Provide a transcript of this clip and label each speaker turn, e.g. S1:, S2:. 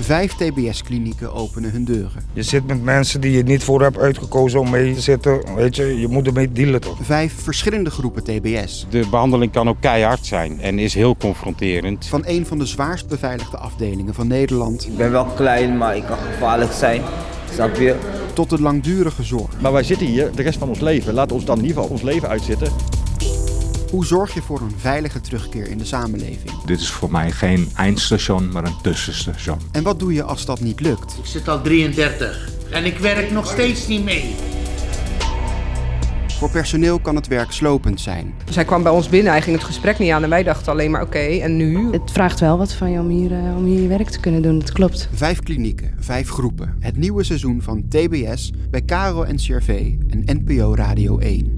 S1: Vijf TBS-klinieken openen hun deuren.
S2: Je zit met mensen die je niet voor hebt uitgekozen om mee te zitten. Weet je, je moet ermee dealen toch?
S1: Vijf verschillende groepen TBS.
S3: De behandeling kan ook keihard zijn en is heel confronterend.
S1: Van een van de zwaarst beveiligde afdelingen van Nederland
S4: Ik ben wel klein, maar ik kan gevaarlijk zijn. Snap je?
S1: tot de langdurige zorg.
S5: Maar wij zitten hier de rest van ons leven. Laat ons dan in ieder geval ons leven uitzitten.
S1: Hoe zorg je voor een veilige terugkeer in de samenleving?
S6: Dit is voor mij geen eindstation, maar een tussenstation.
S1: En wat doe je als dat niet lukt?
S7: Ik zit al 33 en ik werk nog steeds niet mee.
S1: Voor personeel kan het werk slopend zijn.
S8: Zij kwam bij ons binnen, hij ging het gesprek niet aan en wij dachten alleen maar oké, en nu?
S9: Het vraagt wel wat van je om hier, eh, om hier je werk te kunnen doen, dat klopt.
S1: Vijf klinieken, vijf groepen. Het nieuwe seizoen van TBS bij Karo en CRV en NPO Radio 1.